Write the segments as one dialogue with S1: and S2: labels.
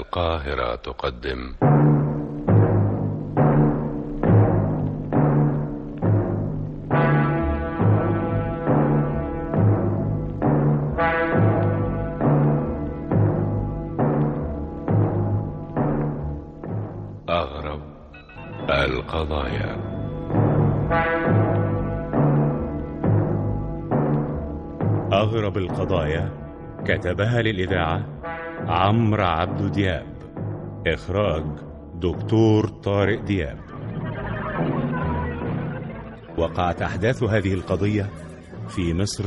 S1: القاهرة تقدم أغرب القضايا
S2: أغرب القضايا كتبها للإذاعة عمرو عبد دياب إخراج دكتور طارق دياب وقعت أحداث هذه القضية في مصر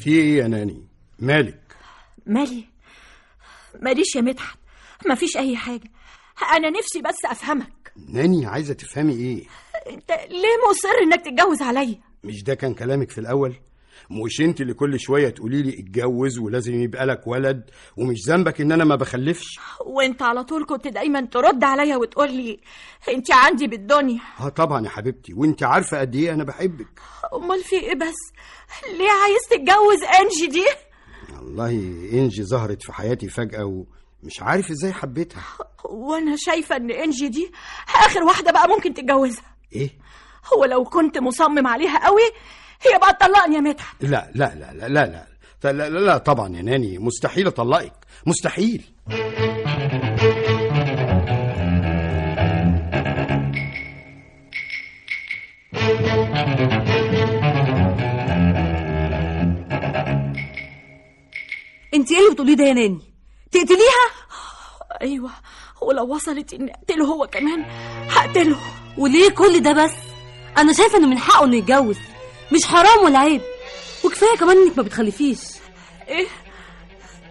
S3: في ايه يا ناني مالك
S4: مالي ماليش يا مدحت مفيش اي حاجه انا نفسي بس افهمك
S3: ناني عايزه تفهمي ايه
S4: انت ليه مصر انك تتجوز عليا
S3: مش ده كان كلامك في الاول مش انت اللي كل شويه تقولي لي اتجوز ولازم يبقى لك ولد ومش ذنبك ان انا ما بخلفش
S4: وانت على طول كنت دايما ترد عليا وتقول لي انت عندي بالدنيا
S3: اه طبعا يا حبيبتي وانت عارفه قد ايه انا بحبك
S4: امال في ايه بس ليه عايز تتجوز انجي دي
S3: والله انجي ظهرت في حياتي فجاه ومش عارف ازاي حبيتها
S4: وانا شايفه ان انجي دي اخر واحده بقى ممكن تتجوزها
S3: ايه
S4: هو لو كنت مصمم عليها قوي هي بقى تطلقني يا مدحت
S3: لا لا لا لا لا لا لا, لا, لا, لا طبعا يا ناني مستحيل اطلقك مستحيل
S5: انت ايه اللي بتقوليه ده يا ناني تقتليها
S4: ايوه ولو وصلت اني اقتله هو كمان هقتله
S5: وليه كل ده بس انا شايفه انه من حقه انه يتجوز مش حرام ولا عيب وكفايه كمان انك ما بتخلفيش
S4: ايه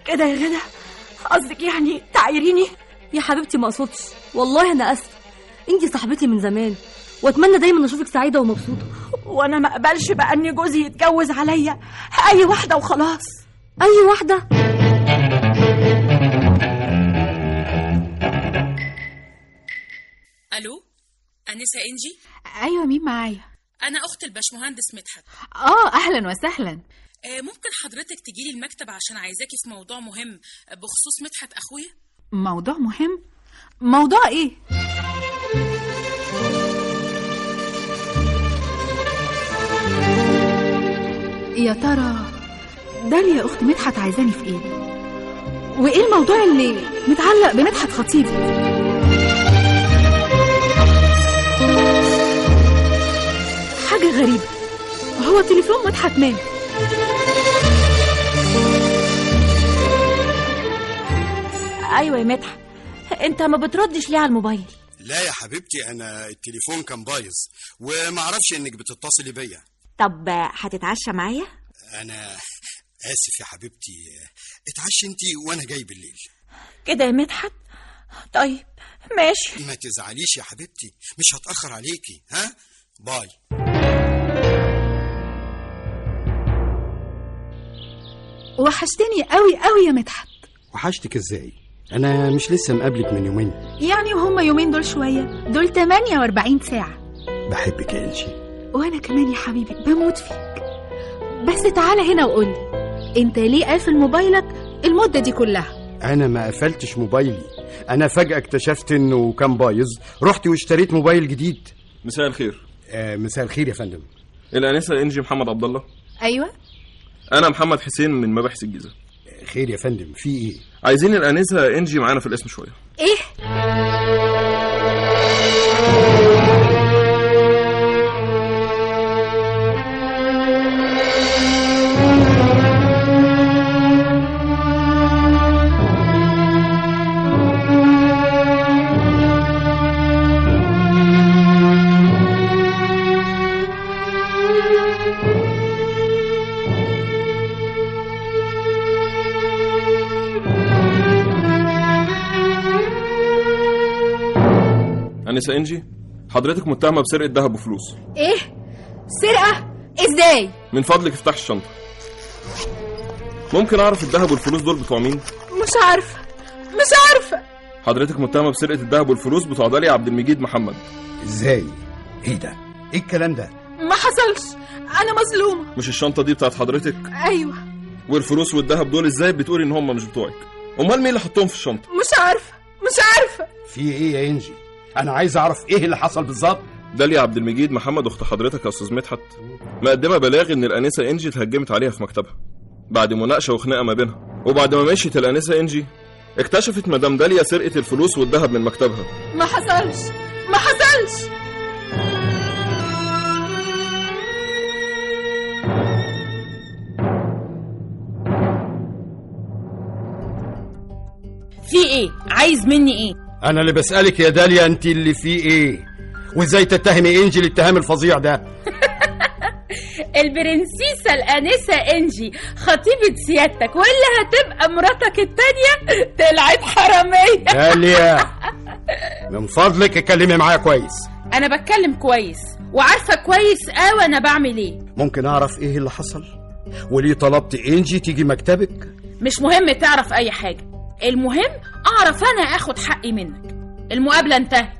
S4: كده يا غدا قصدك يعني تعايريني
S5: يا حبيبتي ما اقصدش والله انا اسفه انت صاحبتي من زمان واتمنى دايما اشوفك سعيده ومبسوطه
S4: وانا ما اقبلش بقى ان جوزي يتجوز عليا اي واحده وخلاص
S5: اي واحده
S6: الو انسه انجي
S7: ايوه مين معايا
S6: انا اخت الباشمهندس مدحت
S7: اه اهلا وسهلا
S6: آه، ممكن حضرتك تجيلي المكتب عشان عايزاكي في موضوع مهم آه، بخصوص مدحت اخويا
S7: موضوع مهم موضوع ايه يا ترى داليا يا اخت مدحت عايزاني في ايه وايه الموضوع اللي متعلق بمدحت خطيبي حاجه غريبه هو تليفون مدحت مات
S4: ايوه يا مدحت انت ما بتردش ليه على الموبايل
S3: لا يا حبيبتي انا التليفون كان بايظ ومعرفش انك بتتصلي بيا
S4: طب هتتعشى معايا
S3: انا اسف يا حبيبتي اتعشي انت وانا جاي بالليل
S4: كده يا مدحت طيب ماشي
S3: ما تزعليش يا حبيبتي مش هتاخر عليكي ها باي
S7: وحشتني قوي قوي يا مدحت
S3: وحشتك ازاي انا مش لسه مقابلك من يومين
S7: يعني وهم يومين دول شويه دول 48 ساعه
S3: بحبك يا انجي
S7: وانا كمان يا حبيبي بموت فيك بس تعالى هنا وقول لي انت ليه قافل موبايلك المده دي كلها
S3: انا ما قفلتش موبايلي انا فجاه اكتشفت انه كان بايظ رحت واشتريت موبايل جديد
S8: مساء الخير
S3: آه مساء الخير يا فندم
S8: الانسه انجي محمد عبد الله
S7: ايوه
S8: انا محمد حسين من مباحث الجيزه
S3: آه، خير يا فندم في ايه
S8: عايزين الانسه انجي معانا في الاسم شويه
S7: ايه
S8: انسه انجي حضرتك متهمه بسرقه ذهب وفلوس
S7: ايه سرقه ازاي
S8: من فضلك افتح الشنطه ممكن اعرف الذهب والفلوس دول بتوع مين
S7: مش عارفه مش عارفه
S8: حضرتك متهمه بسرقه الذهب والفلوس بتوع داليا عبد المجيد محمد
S3: ازاي ايه ده ايه الكلام ده
S7: ما حصلش انا مظلومه
S8: مش الشنطه دي بتاعت حضرتك
S7: ايوه
S1: أيوة.
S8: والفلوس والذهب دول ازاي بتقولي ان هم مش بتوعك امال مين اللي حطهم في الشنطه
S1: مش عارفة مش عارفة
S3: في ايه يا انجي انا عايز اعرف ايه اللي حصل بالظبط
S8: داليا عبد المجيد محمد اخت حضرتك يا استاذ مدحت مقدمه بلاغ ان الانسه انجي اتهجمت عليها في مكتبها بعد مناقشه وخناقه ما بينها وبعد ما مشيت الانسه انجي اكتشفت مدام داليا سرقه الفلوس والذهب من مكتبها
S1: ما حصلش ما حصلش
S6: في
S4: إيه؟
S6: ايه عايز مني ايه
S3: انا اللي بسالك يا داليا انت اللي فيه ايه وازاي تتهمي انجي الاتهام الفظيع ده
S1: البرنسيسة الأنسة إنجي خطيبة سيادتك واللي هتبقى مراتك التانية طلعت حرامية
S3: داليا من فضلك اتكلمي معايا كويس
S1: أنا بتكلم كويس وعارفة كويس أوي أنا بعمل إيه
S3: ممكن اعرف ايه اللي حصل وليه طلبت انجي تيجي مكتبك
S1: مش مهم تعرف أي حاجة المهم أعرف أنا آخد حقي منك المقابلة انتهت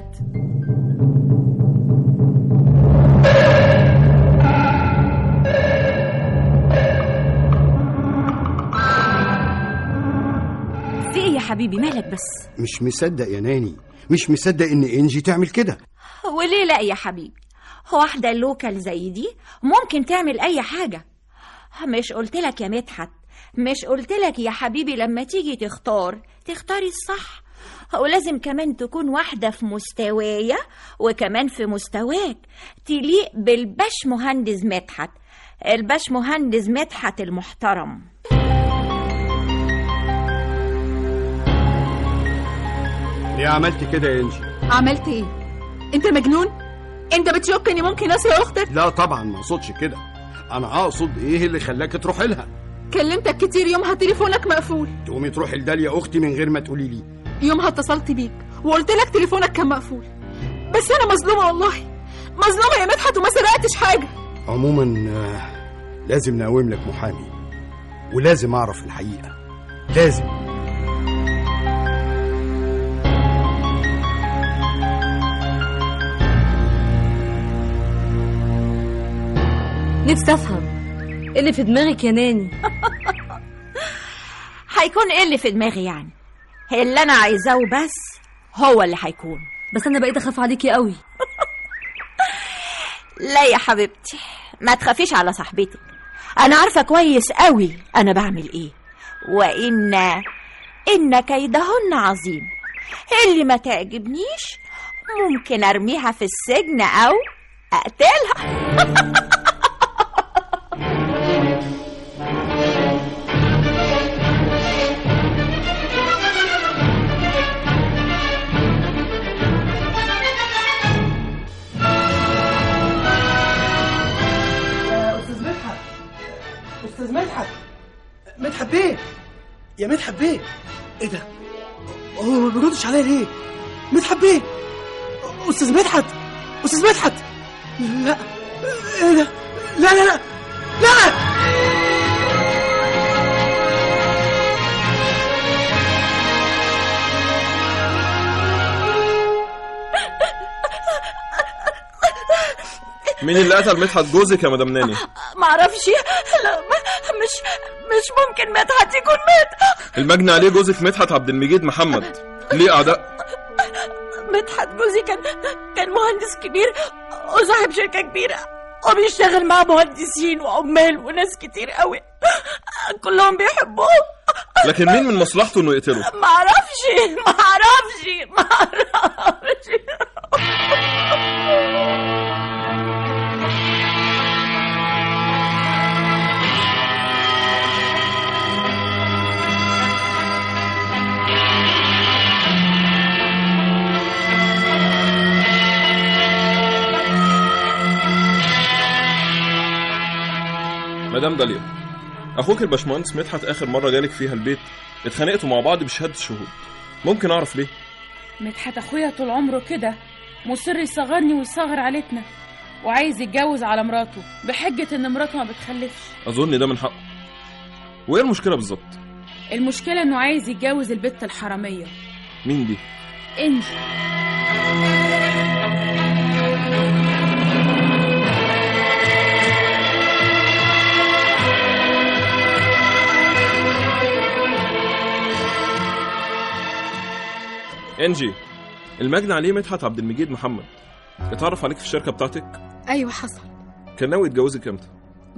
S4: في
S5: إيه
S4: ايه يا حبيبي مالك بس
S3: مش مصدق يا ناني مش مصدق ان انجي تعمل كده
S4: وليه لا يا حبيبي واحدة لوكال زي دي ممكن تعمل أي حاجة آه، مش قلت لك يا مدحت مش قلت لك يا حبيبي لما تيجي تختار تختاري الصح آه، ولازم كمان تكون واحدة في مستوايا وكمان في مستواك تليق بالباش مهندس مدحت الباش مهندس مدحت المحترم
S3: ليه عملت كده يا انجي
S7: عملت ايه انت مجنون انت بتشك اني ممكن اسرق اختك
S3: لا طبعا ما اقصدش كده انا اقصد ايه اللي خلاك تروحي لها
S7: كلمتك كتير يومها تليفونك مقفول
S3: تقومي تروحي لداليا اختي من غير ما تقولي لي
S7: يومها اتصلت بيك وقلت لك تليفونك كان مقفول بس انا مظلومه والله مظلومه يا مدحت وما سرقتش حاجه
S3: عموما آه، لازم نقوم لك محامي ولازم اعرف الحقيقه لازم
S5: نفسي افهم إيه اللي في دماغك يا ناني
S4: هيكون ايه اللي في دماغي يعني اللي أنا عايزاه وبس هو اللي هيكون
S5: بس انا بقيت اخاف عليكي قوي
S4: لا يا حبيبتي ما تخافيش على صاحبتك انا عارفه كويس قوي انا بعمل ايه وان ان كيدهن عظيم اللي ما تعجبنيش ممكن ارميها في السجن او اقتلها
S9: استاذ مدحت استاذ مدحت مدحت بيه يا مدحت بيه ايه ده هو ما بيردش عليا ليه مدحت بيه استاذ مدحت استاذ مدحت لا ايه ده لا لا لا لا
S8: مين اللي قتل مدحت جوزك يا مدام ناني
S4: معرفش لا ما- مش مش ممكن مدحت يكون مات
S8: المجني عليه جوزك مدحت عبد المجيد محمد ليه اعداء
S4: مدحت جوزي كان كان مهندس كبير وصاحب شركة كبيرة وبيشتغل مع مهندسين وعمال وناس كتير قوي كلهم بيحبوه
S8: لكن مين من مصلحته انه يقتله
S4: معرفش معرفش معرفش
S8: مدام داليا اخوك الباشمهندس مدحت اخر مره جالك فيها البيت اتخانقتوا مع بعض بشهاده الشهود ممكن اعرف ليه
S6: مدحت اخويا طول عمره كده مصر يصغرني ويصغر عيلتنا وعايز يتجوز على مراته بحجة ان مراته ما بتخلفش
S8: اظن ده من حقه وايه المشكله بالظبط
S6: المشكلة انه عايز يتجوز البت الحرامية
S8: مين دي
S6: انجي
S8: انجي المجني عليه مدحت عبد المجيد محمد اتعرف عليك في الشركه بتاعتك
S4: ايوه حصل
S8: كان ناوي يتجوزك امتى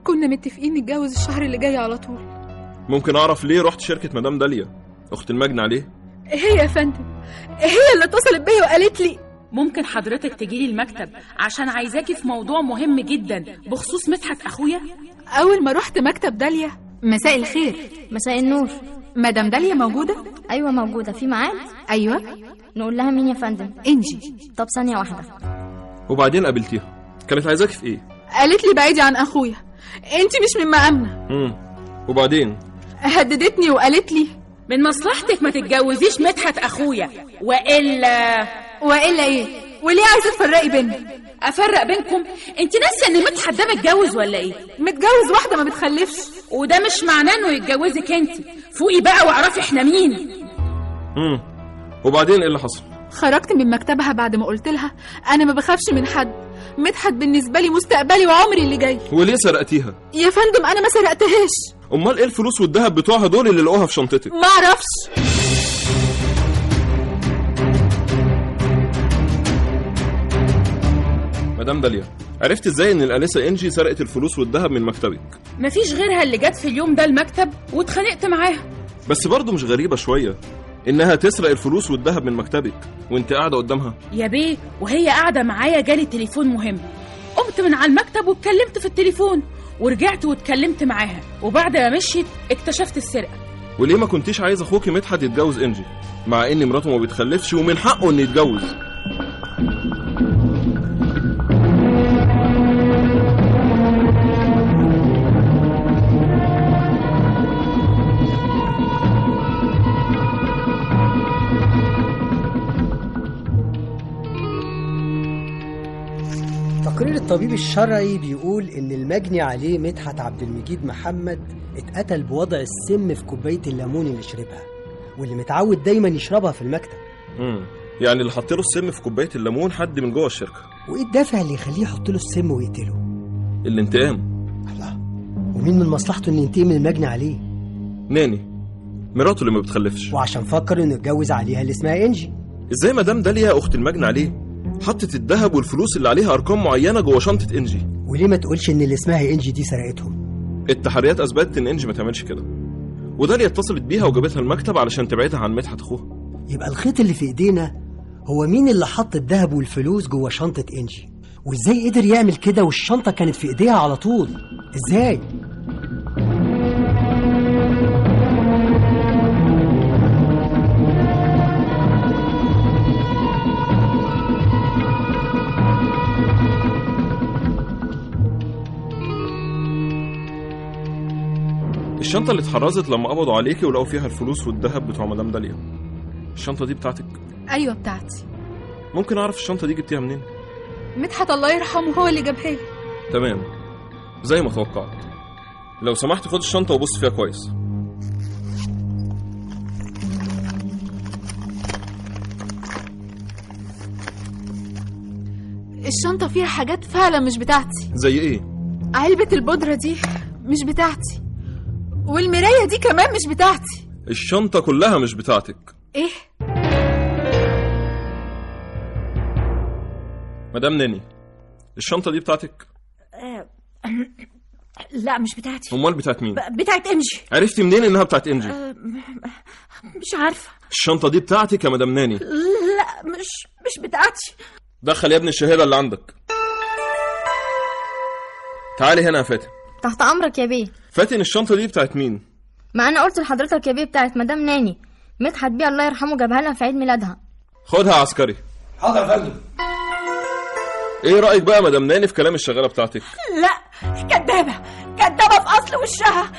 S4: كنا متفقين نتجوز الشهر اللي جاي على طول
S8: ممكن اعرف ليه رحت شركه مدام داليا اخت المجني عليه
S4: هي يا فندم هي اللي اتصلت بيا وقالت لي
S6: ممكن حضرتك تجيلي المكتب عشان عايزاكي في موضوع مهم جدا بخصوص مدحت اخويا
S4: اول ما رحت مكتب داليا مساء الخير
S5: مساء النور
S4: مدام داليا موجوده
S5: ايوه موجوده في ميعاد
S4: ايوه
S5: نقول لها مين يا فندم
S4: انجي
S5: طب ثانيه واحده
S8: وبعدين قابلتيها كانت عايزاكي في ايه
S4: قالت لي بعيدي عن اخويا انت مش من مقامنا
S8: امم وبعدين
S4: هددتني وقالت لي
S10: من مصلحتك ما تتجوزيش مدحت اخويا والا
S4: والا ايه وليه عايزه تفرقي بينا
S10: افرق بينكم انت ناسيه ان مدحت ده متجوز ولا ايه
S4: متجوز واحده ما بتخلفش
S10: وده مش معناه انه يتجوزك انت فوقي بقى واعرفي احنا مين
S8: امم وبعدين ايه اللي حصل
S4: خرجت من مكتبها بعد ما قلت لها انا ما بخافش من حد مدحت بالنسبه لي مستقبلي وعمري اللي جاي
S8: وليه سرقتيها
S4: يا فندم انا ما سرقتهاش
S8: امال ايه الفلوس والذهب بتوعها دول اللي لقوها في شنطتك
S4: ما اعرفش
S8: مدام داليا عرفت ازاي ان الانسه انجي سرقت الفلوس والذهب من مكتبك
S6: مفيش غيرها اللي جت في اليوم ده المكتب واتخانقت معاها
S8: بس برضه مش غريبه شويه انها تسرق الفلوس والذهب من مكتبك وانت قاعده قدامها
S6: يا بيه وهي قاعده معايا جالي تليفون مهم قمت من على المكتب واتكلمت في التليفون ورجعت واتكلمت معاها وبعد ما مشيت اكتشفت السرقه
S8: وليه ما كنتيش عايز اخوكي مدحت يتجوز انجي مع ان مراته ما بتخلفش ومن حقه انه يتجوز
S3: تقرير الطبيب الشرعي بيقول ان المجني عليه مدحت عبد المجيد محمد اتقتل بوضع السم في كوبايه الليمون اللي شربها واللي متعود دايما يشربها في المكتب
S8: امم يعني اللي حط له السم في كوبايه الليمون حد من جوه الشركه
S3: وايه الدافع اللي يخليه يحط له السم ويقتله
S8: الانتقام
S3: الله ومين من مصلحته انه ينتقم من المجني عليه
S8: ناني مراته اللي ما بتخلفش
S3: وعشان فكر انه يتجوز عليها اللي اسمها انجي
S8: ازاي مدام داليا اخت المجني عليه حطت الذهب والفلوس اللي عليها ارقام معينه جوه شنطه انجي
S3: وليه ما تقولش ان اللي اسمها انجي دي سرقتهم
S8: التحريات اثبتت ان انجي ما تعملش كده وداليا اتصلت بيها وجابتها المكتب علشان تبعدها عن مدحت اخوها
S3: يبقى الخيط اللي في ايدينا هو مين اللي حط الذهب والفلوس جوه شنطه انجي وازاي قدر يعمل كده والشنطه كانت في ايديها على طول ازاي
S8: الشنطه اللي اتحرزت لما قبضوا عليكي ولقوا فيها الفلوس والذهب بتوع مدام داليا الشنطه دي بتاعتك
S4: ايوه بتاعتي
S8: ممكن اعرف الشنطه دي جبتيها منين
S4: مدحت الله يرحمه هو اللي جابها لي
S8: تمام زي ما توقعت لو سمحت خد الشنطه وبص فيها كويس
S4: الشنطه فيها حاجات فعلا مش بتاعتي
S8: زي ايه
S4: علبه البودره دي مش بتاعتي والمرايه دي كمان مش بتاعتي
S8: الشنطه كلها مش بتاعتك
S6: إيه؟
S4: ايه
S8: مدام ناني الشنطه دي بتاعتك
S11: لا مش بتاعتي
S8: امال بتاعت مين
S11: ب- بتاعت انجي
S8: عرفتي منين انها بتاعت انجي
S4: آه.
S11: مش عارفه
S8: الشنطه دي بتاعتك يا مدام ناني
S11: لا مش مش بتاعتي
S8: دخل يا ابن الشهيره اللي عندك تعالي هنا يا فاتن
S5: تحت امرك يا بيه
S8: فاتن الشنطه دي بتاعت مين
S5: ما انا قلت لحضرتك يا بيه بتاعت مدام ناني مدحت بيه الله يرحمه جابها لنا في عيد ميلادها
S8: خدها يا عسكري
S12: حاضر يا فندم
S8: ايه رايك بقى يا مدام ناني في كلام الشغاله بتاعتك
S11: لا كدابه كدابه في اصل وشها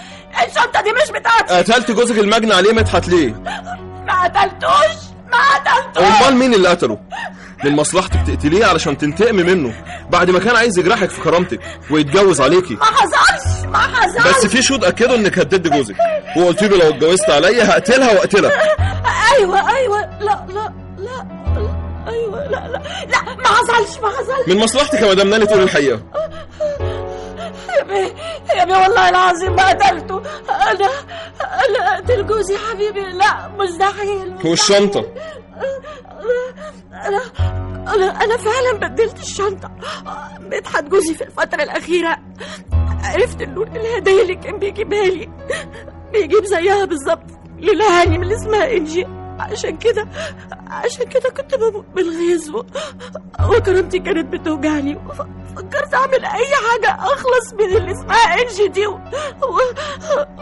S11: الشنطه دي مش بتاعتي
S8: قتلت جوزك المجني عليه مدحت ليه
S11: ما قتلتوش ما قتلتوش
S8: امال مين اللي قتله من مصلحتك تقتليه علشان تنتقمي منه بعد ما كان عايز يجرحك في كرامتك ويتجوز عليكي
S11: ما حصلش ما حصلش
S8: بس في شهود اكدوا انك هددت جوزك وقلت له لو اتجوزت عليا هقتلها واقتلك
S11: ايوه ايوه لا لا لا لا، ايوه لا لا لا ما حصلش ما حصلش
S8: من مصلحتك يا مدام ناني تقول الحقيقه
S11: يا بيه يا بيه والله العظيم ما قتلته انا انا اقتل جوزي يا حبيبي لا مستحيل
S8: والشنطه
S4: أنا أنا أنا فعلا بدلت الشنطة مدحت جوزي في الفترة الأخيرة عرفت إنه الهدايا اللي كان بيجيبها لي بيجيب زيها بالظبط للهاني من اللي اسمها إنجي عشان كده عشان كده كنت بموت بالغيظ و- وكرامتي كانت بتوجعني وف- فكرت أعمل أي حاجة أخلص من اللي اسمها إنجي دي و... و...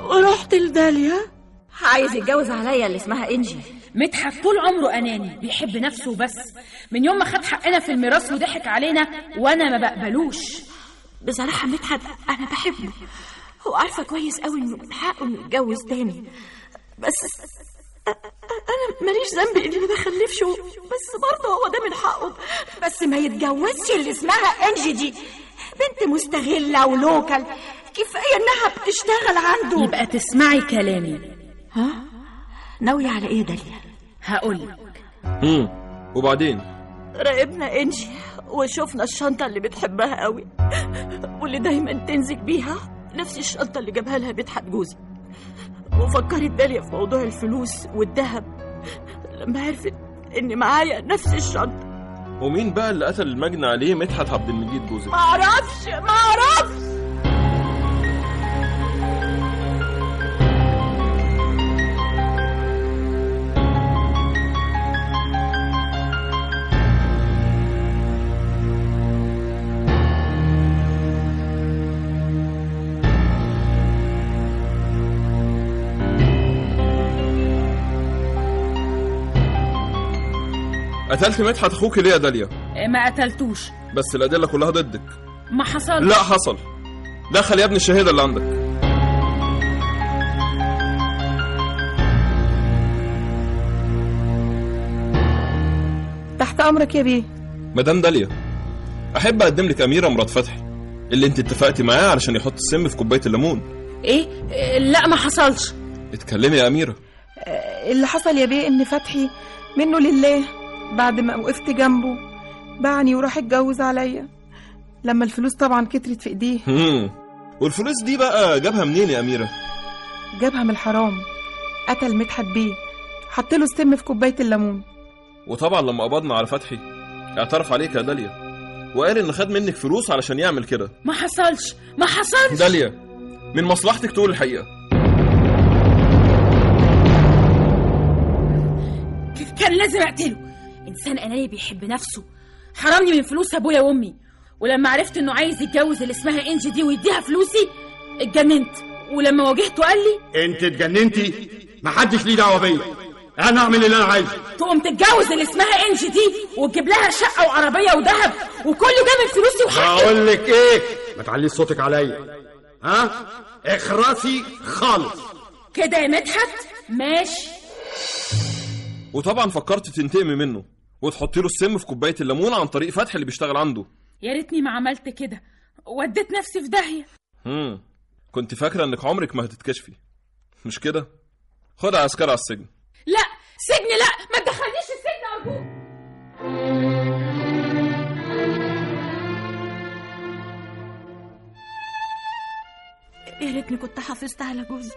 S4: ورحت لداليا
S13: عايز يتجوز عليا اللي اسمها انجي
S14: مدحت طول عمره اناني بيحب نفسه بس من يوم ما خد حقنا في الميراث وضحك علينا وانا ما بقبلوش
S4: بصراحة مدحت أنا بحبه وعارفة كويس قوي إنه من حقه إنه يتجوز تاني بس أ- أ- أنا ماليش ذنب إني ما بخلفش و- بس برضه هو ده من حقه بس ما يتجوزش اللي اسمها إنجي دي بنت مستغلة ولوكال كفاية إنها بتشتغل عنده
S14: يبقى تسمعي كلامي
S4: ها؟ ناوية على إيه داليا؟
S14: هقول
S8: امم وبعدين
S4: راقبنا إنجي وشفنا الشنطة اللي بتحبها قوي واللي دايما تمزج بيها نفس الشنطة اللي جابها لها مدحت جوزي وفكرت داليا في موضوع الفلوس والذهب لما عرفت إن معايا نفس الشنطة
S8: ومين بقى اللي قتل المجني عليه مدحت عبد المجيد جوزك
S4: ما أعرفش ما أعرفش
S8: قتلت مدحت اخوك ليه يا داليا
S14: إيه، ما قتلتوش
S8: بس الادله كلها ضدك
S14: ما حصل
S8: لا حصل دخل يا ابني الشهاده اللي عندك
S4: تحت أمرك يا بيه
S8: مدام داليا احب اقدم لك اميره مرات فتحي اللي انت اتفقتي معاه علشان يحط السم في كوبايه الليمون
S14: ايه إيه، لا ما حصلش
S8: اتكلمي يا اميره
S15: اللي حصل يا بيه ان فتحي منه لله بعد ما وقفت جنبه باعني وراح اتجوز عليا لما الفلوس طبعا كترت في ايديه
S8: هم. والفلوس دي بقى جابها منين يا اميره
S15: جابها من الحرام قتل مدحت بيه حط له السم في كوبايه الليمون
S8: وطبعا لما قبضنا على فتحي اعترف عليك يا داليا وقال ان خد منك فلوس علشان يعمل كده
S14: ما حصلش ما حصلش
S8: داليا من مصلحتك تقول الحقيقه
S14: كان لازم اقتله انسان اناني بيحب نفسه حرمني من فلوس ابويا وامي ولما عرفت انه عايز يتجوز اللي اسمها انجي دي ويديها فلوسي اتجننت ولما واجهته قال لي
S3: انت اتجننتي محدش ليه دعوه بيا انا اعمل اللي انا عايزه
S14: تقوم تتجوز اللي اسمها انجي دي وتجيب لها شقه وعربيه وذهب وكله جامد فلوسي وحقي
S3: هقول لك ايه ما تعليش صوتك عليا ها اخرسي خالص
S14: كده يا مدحت ماشي
S8: وطبعا فكرت تنتقمي منه وتحطي له السم في كوبايه الليمون عن طريق فتحي اللي بيشتغل عنده
S14: يا ريتني ما عملت كده وديت نفسي في داهيه
S8: هم. كنت فاكره انك عمرك ما هتتكشفي مش كده خد عسكر على السجن
S14: لا سجن لا ما تدخلنيش السجن ارجوك
S4: يا ريتني كنت حافظت على جوزي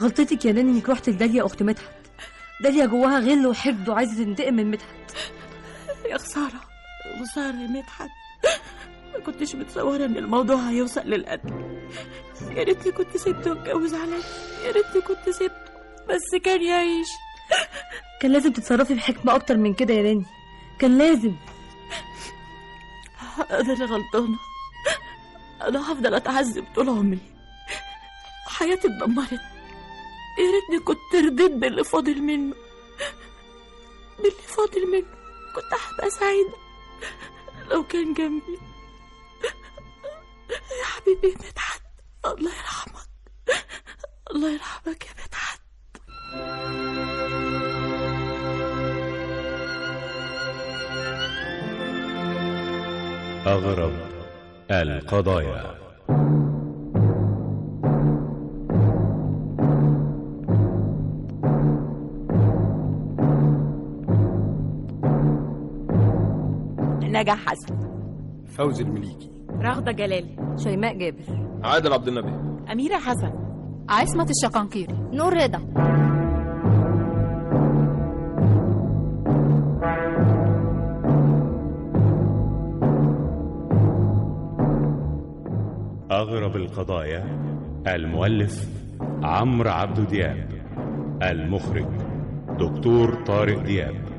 S5: غلطتك يا ناني انك رحت لداليا اخت مدحت داليا جواها غل وحقد وعايزه تنتقم من مدحت
S4: يا خسارة خسارة يا مدحت ما كنتش متصورة إن الموضوع هيوصل للقتل يا ريتني كنت سبته واتجوز عليا يا ريتني كنت سبته بس كان يعيش
S5: كان لازم تتصرفي بحكمه اكتر من كده يا ناني كان لازم
S4: أنا اللي غلطانة أنا هفضل أتعذب طول عمري حياتي اتدمرت يا ريتني كنت رضيت باللي فاضل منه باللي فاضل منه كنت هبقى سعيدة لو كان جنبي يا حبيبي مدحت الله يرحمك الله يرحمك يا مدحت
S16: أغرب القضايا
S13: نجا حسن
S3: فوز المليكي
S17: رغدة جلال شيماء جابر
S8: عادل عبد النبي
S17: أميرة حسن عصمة الشقنقيري
S18: نور رضا
S2: أغرب القضايا المؤلف عمرو عبد دياب المخرج دكتور طارق دياب